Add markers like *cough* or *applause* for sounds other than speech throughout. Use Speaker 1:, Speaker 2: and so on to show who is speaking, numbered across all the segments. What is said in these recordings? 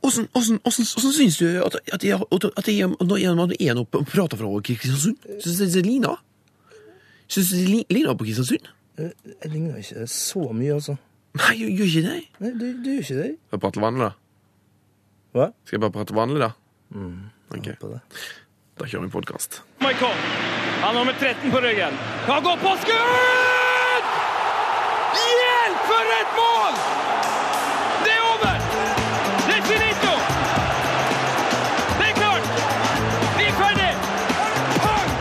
Speaker 1: Åssen åssen- åssen- åssen syns du at, at, jeg, at jeg, nå gjennom at du er nå og prater fra Kristiansund? Syns du det ligner? Syns du det li- ligner på Kristiansund?
Speaker 2: Jeg ligner ikke så mye, altså.
Speaker 1: Nei, gjør gjør ikke det.
Speaker 2: Nei, du, du gjør ikke det.
Speaker 1: Skal jeg prate vanlig, da?
Speaker 2: Hva?
Speaker 1: Skal jeg bare prate vanlig, da?
Speaker 3: Mm.
Speaker 2: Jeg
Speaker 1: Ok,
Speaker 2: håper det.
Speaker 1: Da kjører vi podkast.
Speaker 4: Michael. Han har nummer 13 på ryggen. Han går på skudd! Hjelp for et mål! Det er over! Det er finito! Det er klart! Vi er ferdig! Pang!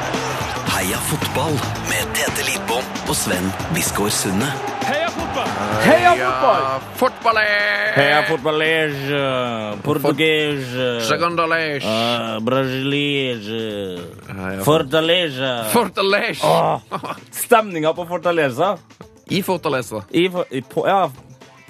Speaker 5: Heia fotball med Tete Lidbom og Sven Biskår Sunde.
Speaker 4: Heia fotball!
Speaker 3: Heia fotball!
Speaker 1: Fotballet!
Speaker 3: Heia eh, fotballege, portugese,
Speaker 1: Segundalesj!
Speaker 3: uh, brasilese,
Speaker 1: Heia
Speaker 3: fortaleza.
Speaker 1: Fortalesj!
Speaker 3: Åh, Stemninga på Fortaleza
Speaker 1: I Fortaleza.
Speaker 3: i, for- i, på, Ja,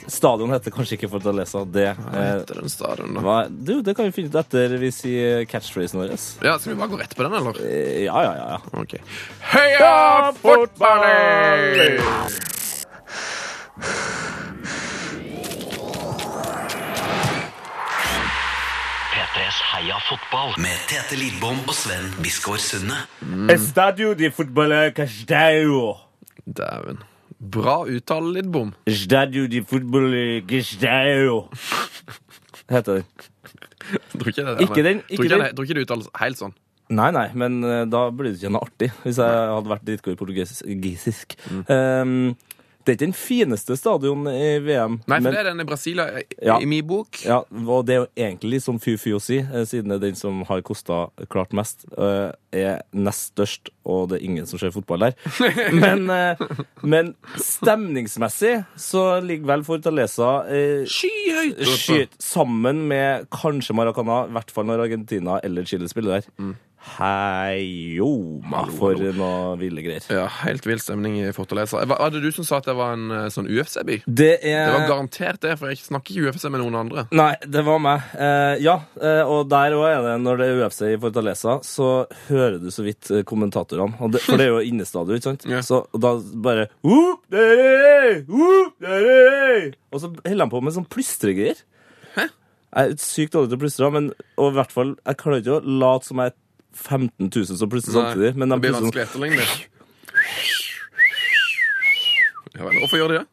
Speaker 3: stadion heter kanskje ikke Fortaleza. Det eh,
Speaker 1: Etter den stadion, da.
Speaker 3: hva- Du, det kan vi finne ut etter vi sier catchphrasen vår.
Speaker 1: Ja, Skal vi bare gå rett på den, eller?
Speaker 3: Eh, Ja, ja, ja. ja.
Speaker 1: Ok. Heia fotballet!
Speaker 5: P3s Heia fotball med Tete Lidbom og Sven Biskår Sunde.
Speaker 3: Estadio de fotball casteo.
Speaker 1: Dæven. Bra uttale, Lidbom.
Speaker 3: Estadio de fotball casteo. Heter den.
Speaker 1: Tror ikke det.
Speaker 3: Ikke den,
Speaker 1: tror
Speaker 3: ikke
Speaker 1: ikke,
Speaker 3: den.
Speaker 1: det- tror ikke det uttales helt sånn.
Speaker 3: Nei, nei, men eh, da blir det ikke noe artig hvis jeg hadde vært dritgod i portugisisk.
Speaker 1: Mm.
Speaker 3: Ehm, det er ikke den fineste stadion i VM.
Speaker 1: Nei, for
Speaker 3: men,
Speaker 1: det er den i Brasilia i,
Speaker 3: Ja.
Speaker 1: i min bok.
Speaker 3: Ja, og det er jo egentlig litt sånn fy-fy å si, eh, siden det er den som har kosta klart mest, eh, er nest størst, og det er ingen som ser fotball
Speaker 1: *laughs*
Speaker 3: der. Men, eh, men stemningsmessig så ligger vel Fortaleza eh,
Speaker 1: Skyhøyt! oppe.
Speaker 3: skyt sammen med kanskje Maracana, i hvert fall når Argentina eller Chile spiller der.
Speaker 1: Mm.
Speaker 3: Hei, jo, ma, for noe ville greier.
Speaker 1: Ja, helt vill stemning i Fortaleza. Hva var det du som sa at det var en eh, sånn UFC-by?
Speaker 3: Det
Speaker 1: Det var
Speaker 3: er
Speaker 1: garantert det, for jeg snakker ikke UFC med noen andre.
Speaker 3: Nei, Eh. det var meg. Eh, ja, eh, og der òg er det, når det er UFC i Fortaleza, så hører du så vidt eh, kommentatorene. Og det, for det er jo innestadion, ikke sant?
Speaker 1: Ja.
Speaker 3: Så og da bare «Opp, der er jeg! Opp, der er jeg!» Og så holder han på med sånn plystregreier. Jeg er sykt dårlig til å plystre, men og i hvert fall, jeg klarer ikke å late som jeg er 15 000 som plystrer samtidig.
Speaker 1: Nei,
Speaker 3: Men sånn-
Speaker 1: det
Speaker 3: de
Speaker 1: blir
Speaker 3: plystrer
Speaker 1: vanskelig å etterligne. Ja, vel, hvorfor gjør de det?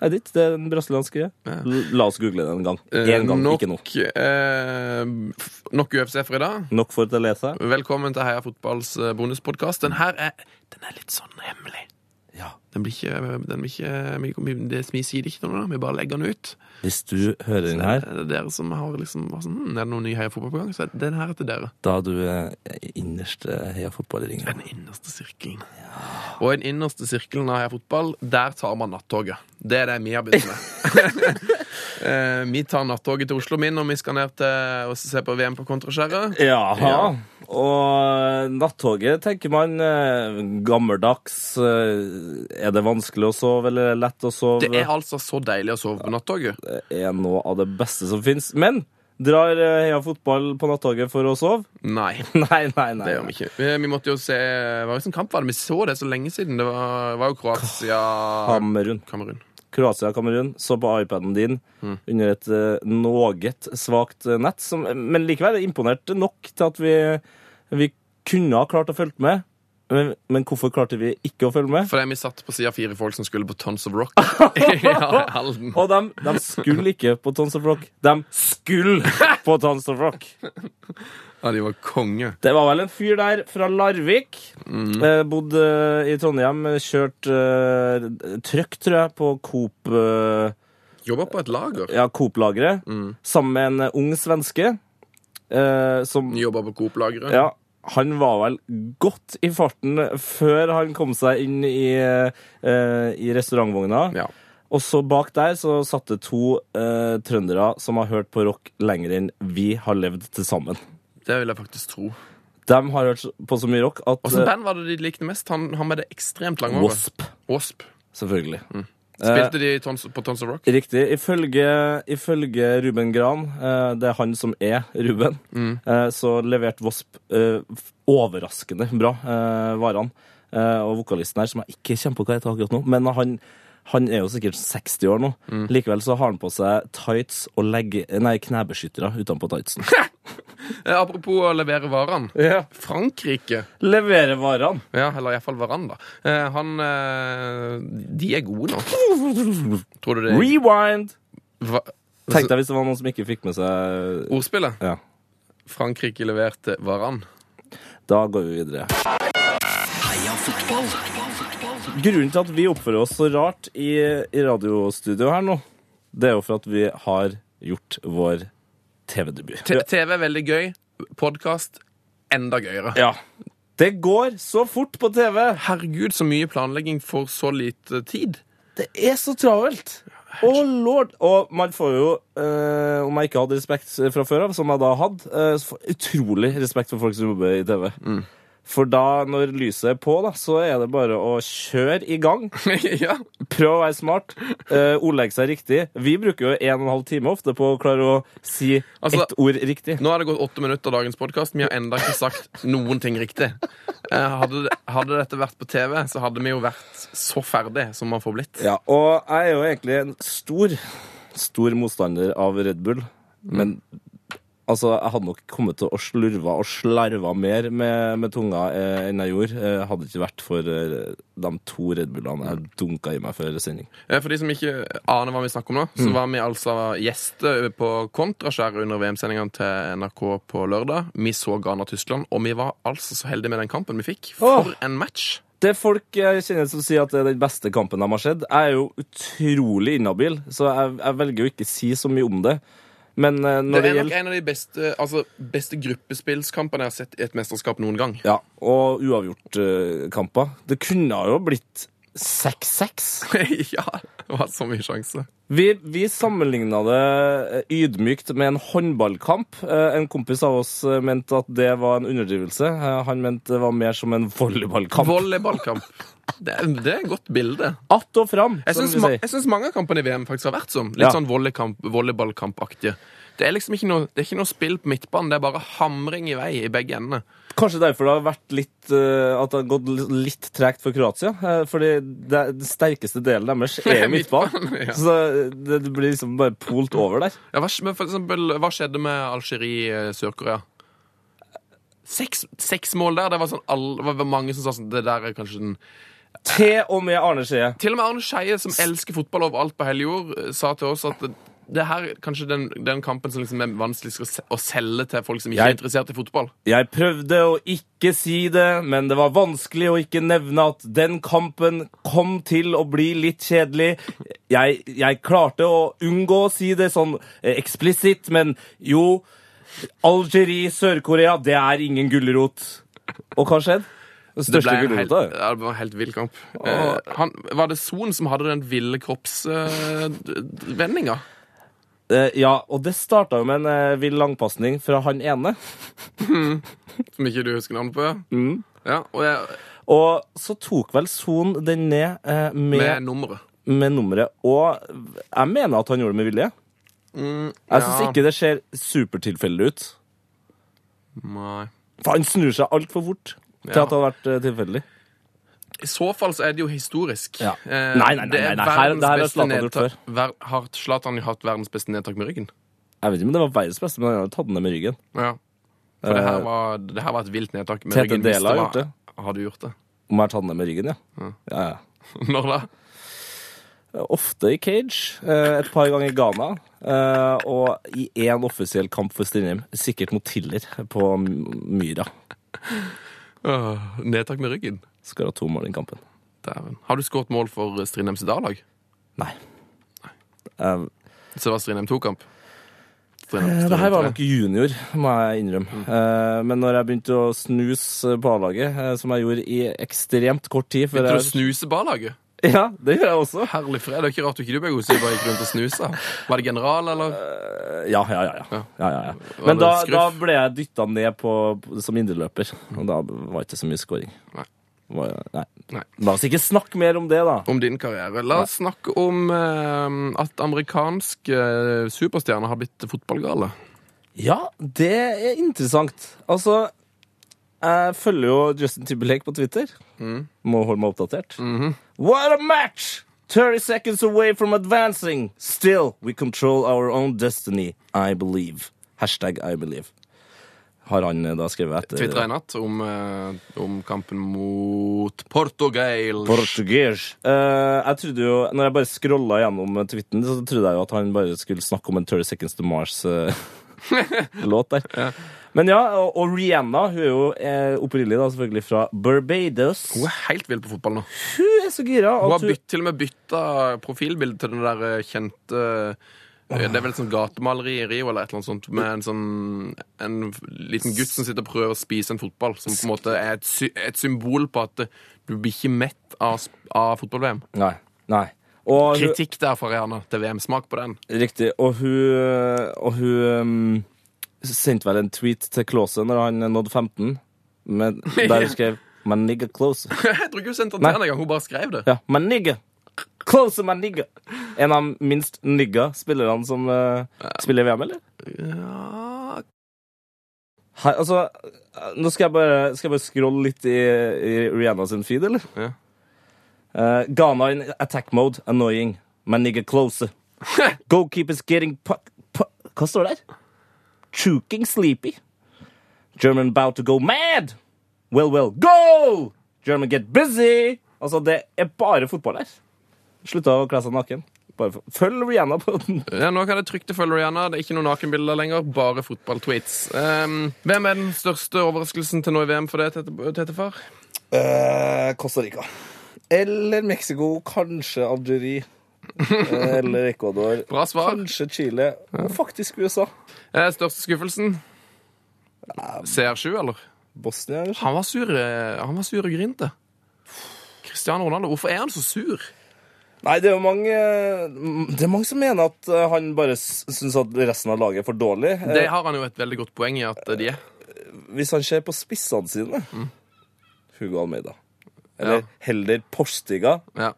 Speaker 3: Nei, ditt, det er den brasilianske greia. L- La oss google det en gang.
Speaker 1: Eh,
Speaker 3: En gang,
Speaker 1: nok,
Speaker 3: ikke nok.
Speaker 1: eh, f- nok UFC for i dag.
Speaker 3: Nok for å lese.
Speaker 1: Velkommen til Heia fotballs bonuspodkast. Den her er, den er litt sånn hemmelig.
Speaker 3: Ja.
Speaker 1: Den blir ikke, eh, den blir ikke vi, vi, det, vi sier det ikke noe, da. vi bare legger den ut.
Speaker 3: Hvis du hører den her,
Speaker 1: Det er dere som har liksom vært sånn, "Hm, Er det noen ny Heia fotball på gang? Så er den her er til dere.
Speaker 3: da er du eh, innerst eh, heia fotballringen.
Speaker 1: Den innerste sirkelen. Og i den innerste sirkelen av Heia fotball, der tar man nattoget. Det er det vi har begynt med. Eh, vi tar nattoget til Oslo min, og vi skal ned til å se på VM på Kontraskjæret.
Speaker 3: Ja.
Speaker 1: Ja.
Speaker 3: Og nattoget, tenker man, eh, gammeldags eh, Er det vanskelig å sove, eller er det lett å sove?
Speaker 1: Det er altså så deilig å sove på nattoget.
Speaker 3: er noe av det beste som fins. Men drar eh, heia fotball på nattoget for å sove? *laughs*
Speaker 1: Nei.
Speaker 3: Nei, nei, nei.
Speaker 1: Det gjør vi ikke. Vi, vi måtte jo se Hva slags kamp var det? Vi så det så lenge siden. Det var, var jo Kroatia
Speaker 3: Kamerun.
Speaker 1: Kamerun.
Speaker 3: Kroatia-Kamerun, så på iPaden din under et uh, noe svakt eh, nett, som, men likevel imponerte nok til at vi, vi kunne ha klart å følge med. Men, men hvorfor klarte vi ikke å følge med?
Speaker 1: Fordi vi satt på sida fire folk som skulle på Tons of Rock *laughs* i Halden.
Speaker 3: Og de, de skulle ikke på Tons of Rock. De skulle på Tons of Rock!
Speaker 1: Ja, de var konge.
Speaker 3: Det var vel en fyr der fra Larvik. Eh, bodde i Trondheim. Kjørt eh, trøkk, tror jeg, på Coop eh,
Speaker 1: Jobba på et lager.
Speaker 3: ja, Coop-lageret sammen med en eh, ung svenske. Eh, som
Speaker 1: Jobba på Coop-lageret.
Speaker 3: Ja, han var vel godt i farten før han kom seg inn i, eh, i restaurantvogna.
Speaker 1: Ja.
Speaker 3: Og så bak der så satt det to eh, trøndere som har hørt på rock lenger enn vi har levd til sammen.
Speaker 1: Det vil jeg faktisk tro.
Speaker 3: De har hørt på så mye rock at
Speaker 1: Hvilket
Speaker 3: eh,
Speaker 1: band var det de likte mest? Han, han med det ekstremt lange håret.
Speaker 3: Wasp,
Speaker 1: Wasp. Eh.
Speaker 3: selvfølgelig.
Speaker 1: Spilte de i tons, på Tons of Rock?
Speaker 3: Riktig. Ifølge, ifølge Ruben Gran, eh, det er han som er Ruben, eh, så leverte Wasp eh, f- overraskende bra eh, varene. Eh, og vokalisten her, som jeg ikke kommer på hva heter akkurat nå, men han, Han er jo sikkert 60 år nå. Likevel så har han på seg tights og legge, nei, knebeskyttere utenpå tightsen.
Speaker 1: Eh, Apropos å levere varene.
Speaker 3: *laughs* ja.
Speaker 1: Frankrike,
Speaker 3: Levere varene.
Speaker 1: ja, eller iallfall varene, da. Eh, Han eh, De er gode nå. *laughs* Tror du det er
Speaker 3: Rewind!
Speaker 1: Hva?
Speaker 3: Tenk deg hvis det var noen som ikke fikk med seg
Speaker 1: Ordspillet?
Speaker 3: Ja.
Speaker 1: Frankrike leverte varan.
Speaker 3: Da går vi videre.
Speaker 5: Heia fotball!
Speaker 3: Grunnen til at vi oppfører oss så rart i, i radiostudio her nå, det er jo for at vi har gjort vår TV-debut.
Speaker 1: T- TV er veldig gøy. Podkast enda gøyere.
Speaker 3: Ja. Det går så fort på TV!
Speaker 1: Herregud, så mye planlegging for så lite
Speaker 3: *laughs*
Speaker 1: tid.
Speaker 3: Det er så travelt! Å, lord! Og man får jo, eh, om jeg ikke hadde respekt fra før av, som jeg da hadde, eh, så får jeg utrolig respekt for folk som jobber i TV. For da, når lyset er på, da, så er det bare å kjøre i gang.
Speaker 1: ja.
Speaker 3: Prøv å være smart. eh, ordlegge seg riktig. Vi bruker jo en og en halv time ofte på å klare å si
Speaker 1: Altså-
Speaker 3: ett ord riktig.
Speaker 1: Nå har det gått åtte minutter av dagens podkast. Vi har enda ikke sagt noen ting riktig. Eh, Hadde, det- hadde dette vært på TV, så hadde vi jo vært så ferdig som man får blitt.
Speaker 3: Ja, og jeg er jo egentlig en stor, stor motstander av Red Bull. Men altså, jeg hadde nok kommet til å slurve og slarve mer med, med tunga eh, enn jeg gjorde. Eh, hadde det ikke vært for eh, de to Red Bullene jeg dunka i meg før sending.
Speaker 1: Eh, For de som ikke aner hva vi snakker om nå,
Speaker 3: Mm.
Speaker 1: så var vi altså gjester på Kontraskjæret under VM-sendingene til NRK på lørdag. Vi så Ghana-Tyskland, og vi var altså så heldige med den kampen vi fikk. For
Speaker 3: Åh.
Speaker 1: en match!
Speaker 3: Det er folk jeg kjenner som sier at det er den beste kampen de har sett, jeg er jo utrolig inhabil, så jeg, jeg velger jo ikke si så mye om det. Men eh,
Speaker 1: Det
Speaker 3: når det,
Speaker 1: er nok
Speaker 3: gjelder
Speaker 1: en av de beste, altså, beste gruppespillskampene jeg har sett i et mesterskap noen gang. *laughs*
Speaker 3: Ja, og uavgjort-kamper Det kunne ha jo blitt 6-6.
Speaker 1: ja, det var så mye sjanse.
Speaker 3: Vi, vi sammenligna det eh, ydmykt med en håndballkamp. Eh, En kompis av oss eh, mente at det var en underdrivelse. Eh, Han mente det var mer som en volleyballkamp.
Speaker 1: Volleyballkamp. Det, er- det er et godt bilde.
Speaker 3: Att og fram,
Speaker 1: Jeg
Speaker 3: som
Speaker 1: syns,
Speaker 3: vi
Speaker 1: ma
Speaker 3: sier.
Speaker 1: jeg syns mange av kampene i VM faktisk har vært som. Litt
Speaker 3: Ja.
Speaker 1: sånn vollekamp, volleyballkampaktige. Det er liksom ikke noe, det er ikke noe spill på midtbanen, det er bare hamring i vei i begge endene.
Speaker 3: Kanskje derfor det har vært litt eh, At det har gått li- litt tregt for Kroatia. eh, Fordi det, den sterkeste delen deres er midtbanen.
Speaker 1: Midtbanen, ja.
Speaker 3: Så det, det blir liksom bare polt over der.
Speaker 1: Ja, hva, sk- men for eksempel, hva skjedde med Algerie-Sør-Korea? Seks, seks mål der. Det var, sånn, all, det var mange som sa sånn Det der er kanskje den
Speaker 3: Til og med Arne Skeie.
Speaker 1: Til og med Arne Skeie, som elsker fotball overalt på hele jord, eh, sa til oss at det- det her er kanskje den, den kampen som liksom er vanskeligst å se- å selge til folk som ikke er
Speaker 3: Jeg-
Speaker 1: interessert i fotball.
Speaker 3: Jeg prøvde å ikke si det, men det var vanskelig å ikke nevne at den kampen kom til å bli litt kjedelig. Jeg, jeg klarte å unngå å si det sånn eh, eksplisitt, men jo Algerie, Sør-Korea, det er ingen gulrot. Og hva skjedde? Den
Speaker 1: Det ble
Speaker 3: største
Speaker 1: en helt,
Speaker 3: gulrota. jo.
Speaker 1: ja, det var en helt vill kamp. Eh, han, var det Son som hadde den ville eh, kroppsvendinga?
Speaker 3: Eh, Ja, og det starta jo med en eh, vill langpasning fra han ene.
Speaker 1: som ikke du husker navnet på? Ja, og jeg,
Speaker 3: Og så tok vel Son den ned eh,
Speaker 1: med
Speaker 3: med,
Speaker 1: nummeret.
Speaker 3: med nummeret. Og jeg mener at han gjorde det med vilje. Jeg syns ikke det ser supertilfeldig ut.
Speaker 1: Nei.
Speaker 3: For han snur seg altfor fort til
Speaker 1: Ja.
Speaker 3: at det hadde vært eh, tilfeldig.
Speaker 1: I så fall så er det jo historisk.
Speaker 3: Ja.
Speaker 1: Eh,
Speaker 3: Nei, nei, nei,
Speaker 1: det er
Speaker 3: nei, nei. Her-
Speaker 1: verdens
Speaker 3: det her har
Speaker 1: beste
Speaker 3: Zlatan gjort
Speaker 1: nedtak-
Speaker 3: før.
Speaker 1: Ver, har Zlatan hatt verdens beste nedtak med ryggen?
Speaker 3: Jeg vet ikke om det var verdens beste, men han hadde tatt den ned med ryggen.
Speaker 1: Ja. For det her var, det her var et vilt nedtak med
Speaker 3: Eh, Tete
Speaker 1: ryggen. hvis
Speaker 3: Dela har
Speaker 1: var-
Speaker 3: gjort det.
Speaker 1: Har du gjort det? *laughs*
Speaker 3: Om jeg har tatt den ned med ryggen, ja. ja, ja.
Speaker 1: Når da?
Speaker 3: Ofte i cage. eh, Et par ganger i Ghana. eh, Og i én offisiell kamp for Strindheim. Sikkert mot Tiller på M- Myra.
Speaker 1: Åh, nedtak med ryggen.
Speaker 3: Skåra to mål i den kampen.
Speaker 1: Dæven. Har du skåret mål for Strindheims dag-lag?
Speaker 3: Nei. Eh,
Speaker 1: Så det var Strindheim 2-kamp?
Speaker 3: Eh, Det her var nok junior, må
Speaker 1: Mm.
Speaker 3: jeg innrømme. Eh, Men når jeg begynte å snuse på A-laget, eh, som jeg gjorde i ekstremt kort tid før
Speaker 1: Begynte du å
Speaker 3: jeg...
Speaker 1: snuse barlaget?
Speaker 3: Ja, det gjør jeg *laughs* også.
Speaker 1: Herlig fred. Det er ikke rart du ikke du ble god, så du bare gikk rundt og snusa. Var det general, eller?
Speaker 3: Ja, ja, ja. ja.
Speaker 1: Ja.
Speaker 3: ja, ja, ja.
Speaker 1: Var
Speaker 3: Men
Speaker 1: det
Speaker 3: da,
Speaker 1: skruff?
Speaker 3: da ble jeg dytta ned på, som indreløper, og da var det ikke så mye scoring.
Speaker 1: Nei.
Speaker 3: Var, nei.
Speaker 1: Nei.
Speaker 3: La oss ikke snakke mer om det, da.
Speaker 1: Om din karriere. La oss snakke om eh, at amerikanske eh, superstjerner har blitt fotballgale.
Speaker 3: Ja, det er interessant. Altså, jeg følger jo Justin Timberlake på Twitter. Må holde meg oppdatert. What a match! 30 seconds away from advancing. Still, we control our own destiny. I believe. Hashtag I believe. Har han eh, da skrevet etter
Speaker 1: Tvitra i natt om, eh, om kampen mot Portugal.
Speaker 3: Portugis. Eh, jeg trodde jo, når jeg bare scrolla gjennom tweeten, så trodde jeg jo at han bare skulle snakke om en 30 Seconds to *laughs* Mars-låt der. Men ja, og, og Rihanna hun er jo eh, opprinnelig da selvfølgelig fra Barbados.
Speaker 1: Hun er helt vill på fotball nå.
Speaker 3: Hun er så gira.
Speaker 1: Hun
Speaker 3: at
Speaker 1: har bytt, til og med bytta profilbilde til den der eh, kjente eh, det er vel et sånt gatemaleri i Rio eller et eller annet sånt med en, sånn, en liten gutt som sitter og prøver å spise en fotball, som på en måte er et, sy et symbol på at eh, du blir ikke mett av, sp- av fotball-VM.
Speaker 3: Nei. nei. Og hun,
Speaker 1: Kritikk der fra Rihanna til VM. Smak på den.
Speaker 3: riktig. Og hun, eh, og hun um, sendte vel en tweet til Klause når han nådde 15,
Speaker 1: *laughs*
Speaker 3: men der hun skrev My nigga Klause.
Speaker 1: Jeg tror ikke hun sendte den
Speaker 3: Nei.
Speaker 1: til henne engang. Hun bare skrev det.
Speaker 3: Ja, my nigga. Closer my nigga. En av minst nigga spillerne som eh, spiller i VM, eller?
Speaker 1: Ja,
Speaker 3: Hei, altså, eh, nå skal jeg bare, skal jeg bare scrolle litt i, i Rihanna sin feed, eller?
Speaker 1: Ja.
Speaker 3: Eh, Ghana in attack mode, annoying. My nigga closer. Goalkeepers getting puck, puck. Hva står det der? Chooking sleepy. German about to go mad. Well, well, go! German get busy. Altså, det er bare fotball her. Slutta å kle seg naken. Bare f- følg Rihanna på den.
Speaker 1: *laughs* Ja, Nå kan det trygt følge Rihanna. Det er ikke noen nakenbilder lenger, bare fotballtweets. Um, hvem er den største overraskelsen til nå i VM for deg, Tete- Tetefar?
Speaker 2: Eh, Costa Rica. Eller Mexico. Kanskje Algerie. Eh, Eller Ecuador.
Speaker 1: Bra svar.
Speaker 2: Kanskje Chile. Og faktisk USA.
Speaker 1: Eh, Største skuffelsen? CR7, eller?
Speaker 2: Bosnia, kanskje.
Speaker 1: Han var sur, eh, han var sur og grinte. Cristiano Ronaldo, hvorfor er han så sur?
Speaker 2: Nei, det er jo mange mm, Det er mange som mener at eh, han bare s- syns at resten av laget er for dårlig. Eh,
Speaker 1: Det har han jo et veldig godt poeng i at eh, de er.
Speaker 2: Hvis han ser på spissene sine Hugo Almeida. Eller
Speaker 1: Ja.
Speaker 2: heller Porstiga.
Speaker 1: Ja.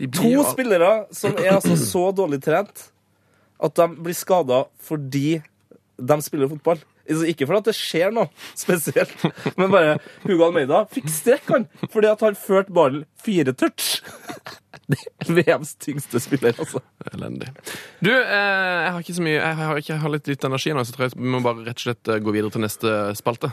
Speaker 1: De blir
Speaker 2: To
Speaker 1: jo al-
Speaker 2: spillere som er altså så dårlig trent at de blir skada fordi de spiller fotball. Altså, Ikke fordi at det skjer noe spesielt, *laughs* men bare Hugo Almeida fikk strekk, han, fordi at han førte ballen fire touch. *laughs* Det er VMs tyngste spiller, altså.
Speaker 1: Elendig. Du, eh, jeg har ikke så mye Jeg har, ikke, jeg har litt lite energi nå, så jeg tror jeg vi må bare rett og slett eh, gå videre til neste spalte.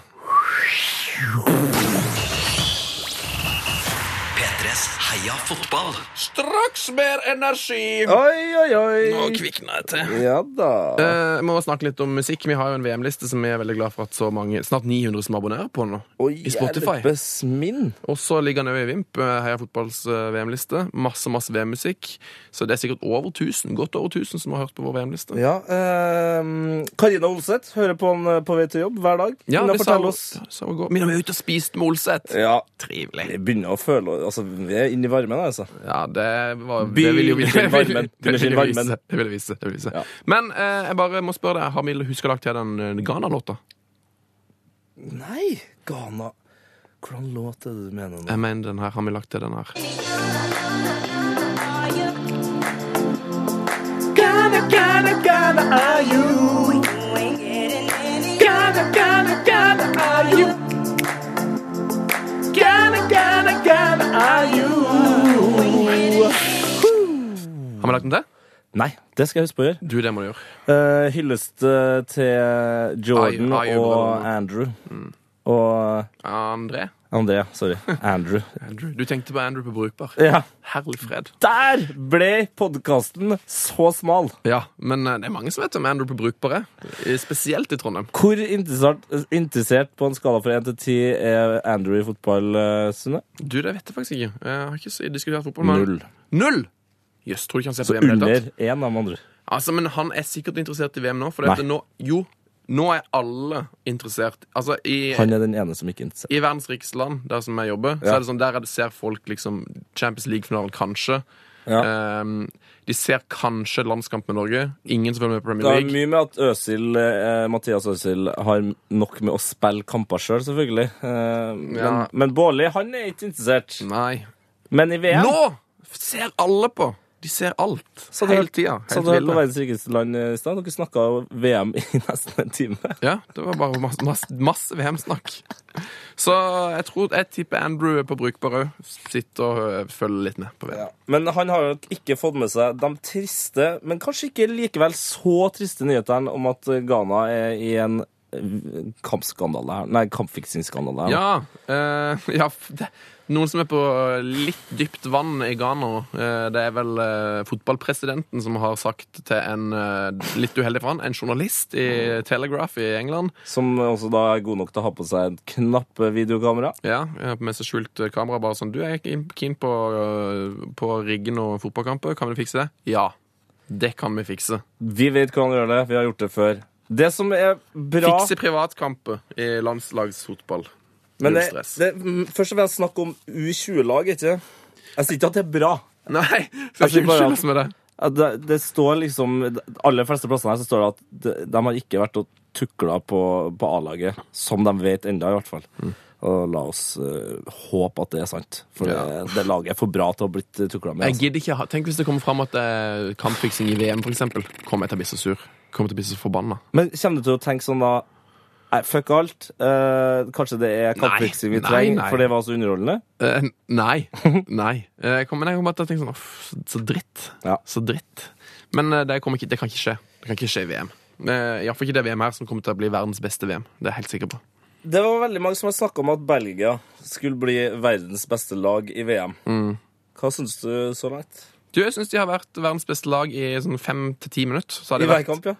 Speaker 5: P3s Heia fotball.
Speaker 1: Straks mer energi!
Speaker 2: Oi, oi, oi.
Speaker 1: Nå kvikna jeg til.
Speaker 2: Ja da.
Speaker 1: Eh, må snakke litt om musikk. Vi har jo en VM-liste som jeg er veldig glad for at så mange, snart 900 som abonnerer på nå.
Speaker 2: Oi,
Speaker 1: I Spotify.
Speaker 2: hjelpes min.
Speaker 1: Og så ligger den òg i Vimp, eh, Heia fotballs eh, VM-liste. Masse masse VM-musikk. Så det er sikkert over 1000, godt over 1000 som har hørt på vår VM-liste.
Speaker 2: Ja, ehm, Karina Olseth hører på han eh, på vei til jobb hver dag. Hun har fortalt oss.
Speaker 1: sa hun i går. Mina, vi er ute og spiste med Olseth.
Speaker 2: Ja,
Speaker 1: Trivelig.
Speaker 2: jeg begynner å føle Altså, vi er inne i varmen, altså.
Speaker 1: Ja, det var
Speaker 2: By-
Speaker 1: det vil jo-
Speaker 2: under varmen.
Speaker 1: Det vil jo
Speaker 2: Under
Speaker 1: vise.
Speaker 2: varmen.
Speaker 1: Det vil vise. Det vil vise.
Speaker 2: Ja.
Speaker 1: Men eh, jeg bare må spørre deg, har vi huska lagt til den eh, Ghana-låta?
Speaker 2: Nei, Ghana Hvordan låt er det du mener nå?
Speaker 1: Jeg mener den her. Har vi lagt til den her? Har vi lagt den til?
Speaker 3: Nei, det skal jeg huske på å gjøre.
Speaker 1: Du, det må du gjøre.
Speaker 3: Eh, Hyllest eh, til Jordan
Speaker 1: Ai- ai-
Speaker 3: og Andrew.
Speaker 1: Mm.
Speaker 2: eh,
Speaker 3: Og
Speaker 1: André?
Speaker 3: André,
Speaker 1: *laughs*
Speaker 3: sorry. Andrew.
Speaker 1: Andrew. Du tenkte på Andrew på Brukbar.
Speaker 3: Ja.
Speaker 1: Herlig fred.
Speaker 3: Der ble podkasten så smal!
Speaker 1: Ja, men eh, det er mange som vet om Andrew på Brukbar er. Eh, Spesielt i Trondheim.
Speaker 3: Hvor interessert, interessert på en skala fra 1 til 10 er Andrew i fotball, eh, Sunne?
Speaker 1: Du, det vet jeg faktisk ikke. Jeg har ikke så- diskutert fotball med han.
Speaker 3: Null.
Speaker 1: Null! Jøss, tror du ikke han ser på VM i det hele tatt?
Speaker 3: Under én av de andre.
Speaker 1: Altså, men han er sikkert interessert i VM nå, for det at
Speaker 3: Nei.
Speaker 1: nå Jo, nå er alle interessert. Altså, i,
Speaker 3: Han er den ene som ikke er interessert.
Speaker 1: i verdens rikeste land, der som jeg jobber, så
Speaker 3: Ja.
Speaker 1: er det sånn, der er det- ser folk liksom Champions League-finalen, kanskje.
Speaker 3: Ja.
Speaker 1: Ehm, de ser kanskje landskamp med Norge. Ingen som følger med på
Speaker 3: Det
Speaker 1: Premier
Speaker 3: har
Speaker 1: League.
Speaker 3: mye med at Øsil, eh, Mathias Øsil har nok med å spille kamper sjøl, selv, selvfølgelig. Eh, men,
Speaker 1: Ja.
Speaker 3: men Bårli, han er ikke interessert.
Speaker 1: Nei.
Speaker 3: Men i VM
Speaker 1: Nå ser alle på! De ser alt.
Speaker 2: Så du
Speaker 1: hele
Speaker 2: hørte-
Speaker 1: tida.
Speaker 3: Så
Speaker 1: Helt
Speaker 3: du hørte på
Speaker 1: ville.
Speaker 3: verdens rikeste land eh, i stad. Dere snakka VM i *laughs* nesten en time.
Speaker 1: Ja, det var bare masse, masse, masse VM-snakk. Så jeg tror jeg tipper Andrew er på brukbar òg. Sitter og øh, følger litt med på VM.
Speaker 3: Men han har jo ikke fått med seg de triste, men kanskje ikke likevel så triste nyhetene om at Ghana er i en eh, kampskandale her. Nei, kampfiksingsskandale. her.
Speaker 1: Ja, eh, ja f- det, Noen som er på litt dypt vann i Ghana. eh, det er vel eh, fotballpresidenten som har sagt til en eh, litt uheldig for han, en journalist i Telegraph i England
Speaker 3: Som også da er god nok til å ha på seg et knappe videokamera.
Speaker 1: Ja, eh, med seg skjult eh, kamera bare sånn Du er ikke keen på, eh, på riggen og fotballkamper, kan vi fikse det? Ja, det kan vi fikse.
Speaker 3: Vi vet hvordan vi gjør det. Vi har gjort det før. Det som er bra
Speaker 1: Fikse privatkamper i landslagsfotball.
Speaker 3: Men
Speaker 1: Null
Speaker 3: det,
Speaker 1: stress.
Speaker 3: det, mm, først og fremst snakk om U20-lag, ikke Jeg sier ikke at det er bra.
Speaker 1: *laughs* Nei, skal
Speaker 3: Jeg
Speaker 1: ikke
Speaker 3: sier bare
Speaker 1: unnskyldes med det.
Speaker 3: At Det, det står liksom de aller fleste plassene her så står det at de, de har ikke vært og tukla på, på A-laget, som de vet enda i hvert fall.
Speaker 1: Mm.
Speaker 3: Og la oss eh, håpe at det er sant, for
Speaker 1: Ja.
Speaker 3: det, det laget er for bra til å ha blitt tukla med.
Speaker 1: Jeg
Speaker 3: Altså.
Speaker 1: gidder ikke ha Tenk hvis det kommer fram at eh, kampfiksing i VM, for eksempel. Kommer jeg til å bli så sur? Kommer jeg til å bli så forbanna?
Speaker 3: Men kommer du til å tenke sånn da Nei, fuck alt. eh, kanskje det er kampfiksing vi
Speaker 1: Nei,
Speaker 3: trenger,
Speaker 1: nei.
Speaker 3: for det var så underholdende?
Speaker 1: Eh, nei. *laughs* Nei. Eh, Jeg kommer, jeg kommer bare til å tenke sånn Uff, så- så dritt.
Speaker 3: Ja.
Speaker 1: Så dritt. Men eh, det, kommer ikke, det kan ikke skje. Det kan ikke skje i VM. Iallfall ikke det VM her som kommer til å bli verdens beste VM. Det er jeg helt sikker på.
Speaker 3: Det var veldig mange som har snakka om at Belgia skulle bli verdens beste lag i VM.
Speaker 1: Mm.
Speaker 3: Hva syns du så langt?
Speaker 1: Du, jeg syns de har vært verdens beste lag i sånn fem til ti minutter. Så har de
Speaker 3: I hver
Speaker 1: vært-
Speaker 3: kamp, ja.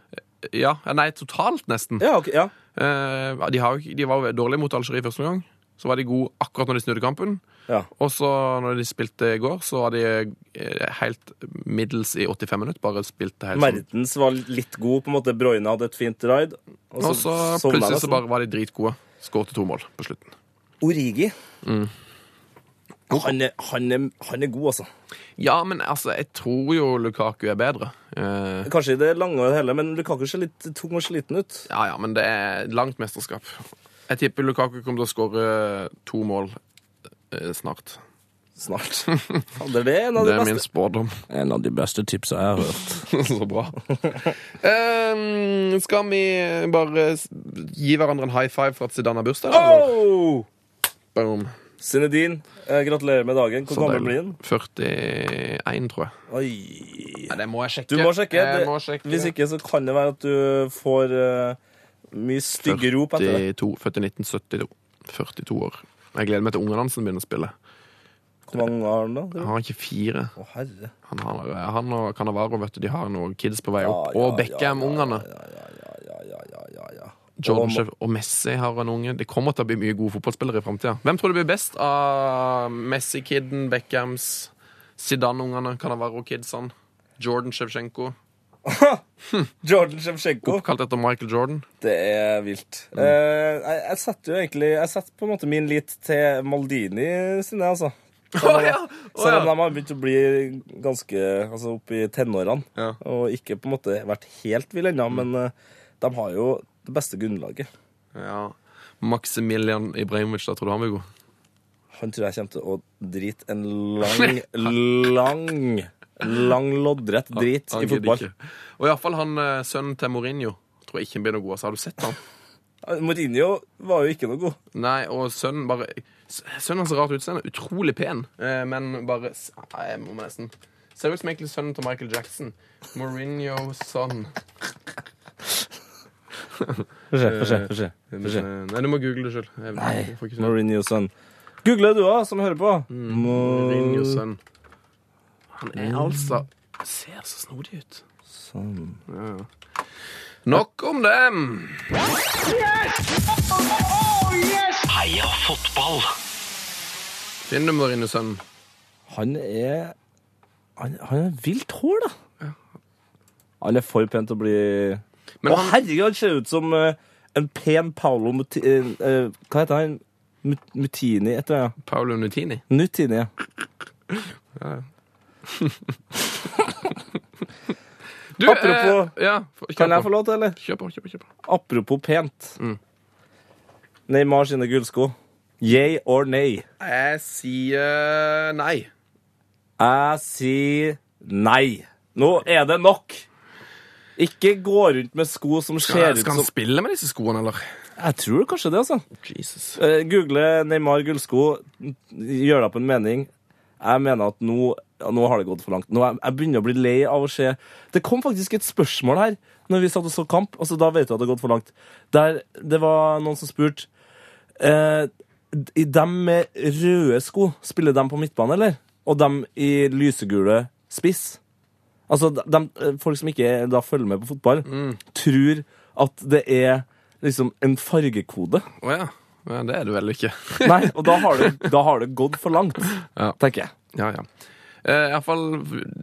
Speaker 1: Ja, eh, nei, totalt, nesten.
Speaker 3: Ja, ok, ja.
Speaker 1: Eh, de, har, jo ikke- de var jo dårlige mot Algerie første gang. Så var de gode akkurat når de snudde kampen.
Speaker 3: Ja.
Speaker 1: Og så når de spilte i går, så var de eh, helt middels i 85 minutter. Bare spilte helt sånn.
Speaker 3: Mertens var litt god, på en måte. Broyne hadde et fint ride. Og
Speaker 1: Og så
Speaker 3: sovna
Speaker 1: plutselig så
Speaker 3: nesten.
Speaker 1: bare var de dritgode. Skårte to mål på slutten.
Speaker 3: Origi.
Speaker 1: Mm.
Speaker 3: Han, er, han, er, han er god, altså.
Speaker 1: Ja, men altså, jeg tror jo Lukaku er bedre. Eh,
Speaker 3: Kanskje i det lange og hele, men Lukaku ser litt tung og sliten ut.
Speaker 1: ja, ja, men det er langt mesterskap. Jeg tipper Lukaku kommer til å skåre to mål eh, snart. *laughs*
Speaker 3: Snart. Fader, det er en av
Speaker 1: Det
Speaker 3: de
Speaker 1: er min
Speaker 3: beste,
Speaker 1: spådom. *laughs*
Speaker 3: en av de beste tipsa jeg har hørt.
Speaker 1: Så bra. Ehm, skal vi bare s- gi hverandre en high five for at Zidane har bursdag? eller?
Speaker 3: Oh!
Speaker 1: Boom.
Speaker 3: Zinedine, eh, gratulerer med dagen. Hvor
Speaker 1: Så
Speaker 3: gammel blir
Speaker 1: deilig.
Speaker 3: han?
Speaker 1: 41, tror jeg.
Speaker 3: Oi.
Speaker 1: Nei, det må jeg sjekke.
Speaker 3: Du må sjekke.
Speaker 1: Jeg
Speaker 3: Det,
Speaker 1: må sjekke.
Speaker 3: Hvis ikke, så kan det være at du får eh, mye stygge rop etter det.
Speaker 1: 42, født i 1972. 42 år. Jeg gleder meg til ungene hans begynner å spille.
Speaker 3: Hvor mange har han da? tror du?
Speaker 1: Han har ikke fire.
Speaker 3: Å, herre.
Speaker 1: Han, har, han og Canavaro vet du, de har noen kids på vei opp.
Speaker 3: Ja, ja,
Speaker 1: og Beckham-ungene.
Speaker 3: Ja, ja, ja, ja, ja.
Speaker 1: Jordan
Speaker 3: Og-
Speaker 1: Sheff og Messi har en unge. Det kommer til å bli mye gode fotballspillere i framtida. Hvem tror du blir best av Messi-kidden, Beckhams, Zidane-ungene, Canavaro-kidsene? Jordan Shevchenko,
Speaker 3: Jordan Shevchenko.
Speaker 1: oppkalt etter Michael Jordan.
Speaker 3: Det er vilt.
Speaker 1: Mm.
Speaker 3: Eh, jeg, jeg setter jo egentlig Jeg setter på en måte min lit til Maldini sine, altså. Selv
Speaker 1: *laughs* Å,
Speaker 3: om,
Speaker 1: ja. Å,
Speaker 3: selv om
Speaker 1: ja.
Speaker 3: de har begynt å bli ganske altså, opp i tenårene,
Speaker 1: Ja. Mm.
Speaker 3: og ikke på en måte vært helt ville ennå, men eh, de har jo det beste grunnlaget.
Speaker 1: Ja. Maximilian Ibrahimovic, da tror du han blir god?
Speaker 3: Han tror jeg kommer til å drite en
Speaker 1: *laughs*
Speaker 3: lang, lang, lang loddrett drit
Speaker 1: Han
Speaker 3: i
Speaker 1: gidder
Speaker 3: fotball.
Speaker 1: ikke. Og iallfall han eh, sønnen til Mourinho tror jeg ikke han blir noe god. Altså, har du
Speaker 3: *laughs*
Speaker 1: sett han?
Speaker 3: Eh, Mourinho var jo ikke noe god.
Speaker 1: Nei, og sønnen bare Sønnen har så rart utseende. Utrolig pen, eh, men bare s- Nei, Jeg må nesten Ser ut som egentlig sønnen til Michael Jackson. Mourinho son.
Speaker 3: Få se, få se. Få se.
Speaker 1: Men, eh, Nei, du må google det sjøl. Nei.
Speaker 3: Mourinho sønn. Google du òg, som hører på.
Speaker 1: Mourinho son. Han er
Speaker 3: Mm.
Speaker 1: altså Ser så snodig ut.
Speaker 3: Sånn.
Speaker 1: Nok om dem!
Speaker 5: Heia fotball!
Speaker 1: Finn du Mourinho son.
Speaker 3: Han er Han, han er vilt hår, da. Han er for pen til å bli
Speaker 1: Men
Speaker 3: Å,
Speaker 1: han-
Speaker 3: herregud, han ser ut som eh, en pen Paolo Muti... eh, eh, hva heter han? Mut Mutini, heter han. ja.
Speaker 1: Paolo Nutini.
Speaker 3: Nutini, ja.
Speaker 1: Du,
Speaker 3: Apropos-
Speaker 1: eh, ja, f- kjør
Speaker 3: Kan jeg
Speaker 1: på.
Speaker 3: få lov til, eller? Mm.
Speaker 1: Kjør på, kjør på. kjør på.
Speaker 3: Apropos pent. Neymar sine gullsko. Yay or nay?
Speaker 1: Jeg sier nei.
Speaker 3: Jeg sier Nei, nå er det nok! Ikke gå rundt med sko som ser
Speaker 1: Skal,
Speaker 3: ut
Speaker 1: skal han
Speaker 3: som
Speaker 1: spille med disse skoene, eller?
Speaker 3: Jeg tror kanskje det, altså.
Speaker 1: Jesus.
Speaker 3: Eh, Google Neymar gullsko, gjør deg opp en mening. Jeg mener at nå, ja, nå har det gått for langt. Nå er, jeg begynner å bli lei av å se Det kom faktisk et spørsmål her når vi satt og så kamp. Altså, da vet du at det har gått for langt. Der det var noen som spurte eh, i Dem med røde sko, spiller dem på midtbane, eller? Og dem i lysegule spiss? Altså, de- dem, eh, folk som ikke da følger med på fotball, tror at det er liksom en fargekode.
Speaker 1: Å ja. ja. Det er det vel ikke.
Speaker 3: Nei, *laughs* og da har det, da har det gått for langt,
Speaker 1: Ja.
Speaker 3: tenker jeg.
Speaker 1: Ja, ja. Eh, i hvert fall,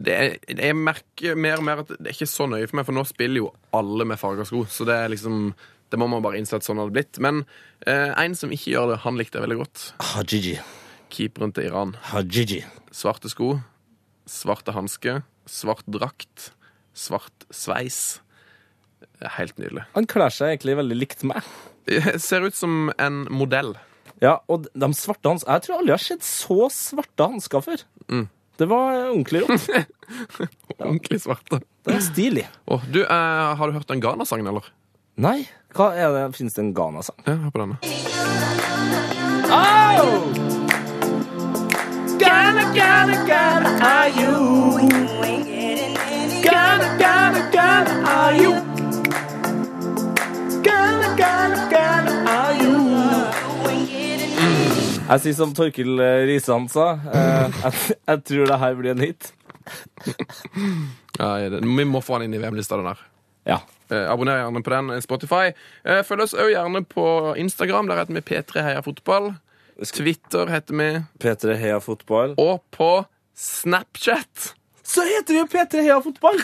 Speaker 1: det er, jeg merker mer og mer at det er ikke så nøye for meg, for nå spiller jo alle med farga sko. Så det er liksom Det må man bare innse at sånn har det blitt. Men eh, en som ikke gjør det, han likte jeg veldig godt.
Speaker 3: Hajiji.
Speaker 1: Keeperen til Iran.
Speaker 3: Hajiji.
Speaker 1: Svarte sko, svarte hansker, svart drakt, svart sveis. Helt nydelig.
Speaker 3: Han kler seg egentlig veldig likt meg.
Speaker 1: Eh, Ser ut som en modell.
Speaker 3: Ja, og de svarte hans Jeg tror aldri jeg har sett så svarte hansker før. Det var eh, ordentlig *laughs* rått.
Speaker 1: *laughs* Ordentlig svarte.
Speaker 3: Det er stilig.
Speaker 1: Åh, du, eh, har du hørt den Ghana-sangen, eller?
Speaker 3: Nei, hva er det? Fins det en Ghana-sang?
Speaker 1: Ja, hør på denne.
Speaker 3: Ghana, Ghana, Ghana, are you? Ghana, Ghana, Ghana, are you? Ghana, Ghana, Ghana, are you? Jeg sier som Torkil eh, Risan sa, eh, jeg, jeg tror det her blir en hit.
Speaker 1: Ja, det- vi må få han inn i VM-lista, den der.
Speaker 3: Ja.
Speaker 1: Eh, Abonner gjerne på den eh, Spotify. Eh, Følg oss òg gjerne på Instagram. Der heter vi P3 Heia Fotball. Twitter heter vi.
Speaker 3: P3 Heia Fotball.
Speaker 1: Og på Snapchat
Speaker 3: Så heter vi jo P3 Heia Fotball!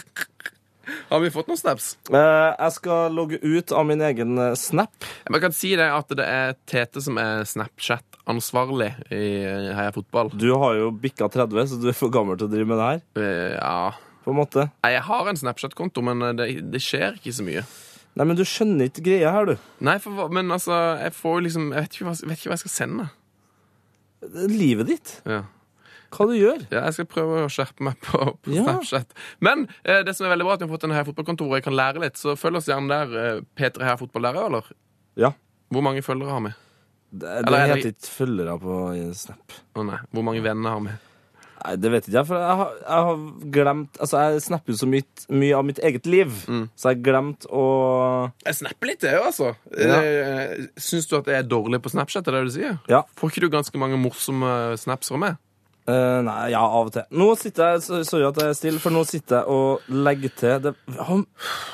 Speaker 1: har vi fått noen snaps.
Speaker 3: Eh, jeg skal logge ut av min egen eh, snap.
Speaker 1: Jeg kan si det at det er Tete som er Snapchat-ansvarlig i Heia Fotball.
Speaker 3: Du har jo bikka 30, så du er for gammel til å drive med det her.
Speaker 1: Eh, Ja
Speaker 3: På en måte.
Speaker 1: Nei, Jeg har en Snapchat-konto, men eh, det, det skjer ikke så mye.
Speaker 3: Nei, men du skjønner ikke greia her, du.
Speaker 1: Nei, for, hva- Men altså, jeg får jo liksom Jeg vet ikke hva, jeg vet ikke hva jeg skal sende.
Speaker 3: Det er Livet ditt.
Speaker 1: Ja.
Speaker 3: Hva du gjør.
Speaker 1: Ja, jeg skal prøve å skjerpe meg på, på
Speaker 3: Ja.
Speaker 1: Snapchat. Men eh, det som er veldig bra, er at vi har fått en her fotballkontor, og jeg kan lære litt. Så følg oss gjerne der. Eh, P3 her fotball der, eller?
Speaker 3: Ja.
Speaker 1: Hvor mange følgere har vi?
Speaker 3: Det, det
Speaker 1: Eller er det-
Speaker 3: heter ikke følgere på Snap.
Speaker 1: Å nei, Hvor mange venner har vi?
Speaker 3: Nei, det vet ikke jeg, for jeg har, jeg har glemt Altså, jeg snapper jo så mye, mye av mitt eget liv,
Speaker 1: Mm.
Speaker 3: så jeg har glemt å
Speaker 1: Jeg snapper litt, jeg òg, altså.
Speaker 3: Ja.
Speaker 1: Eh, Syns du at jeg er dårlig på Snapchat? er det det du sier?
Speaker 3: Ja.
Speaker 1: Får ikke du ganske mange morsomme snaps fra meg?
Speaker 3: Eh, nei, ja, av og til. Nå sitter jeg så- Sorry at jeg er stille, for nå sitter jeg og legger til det, Jeg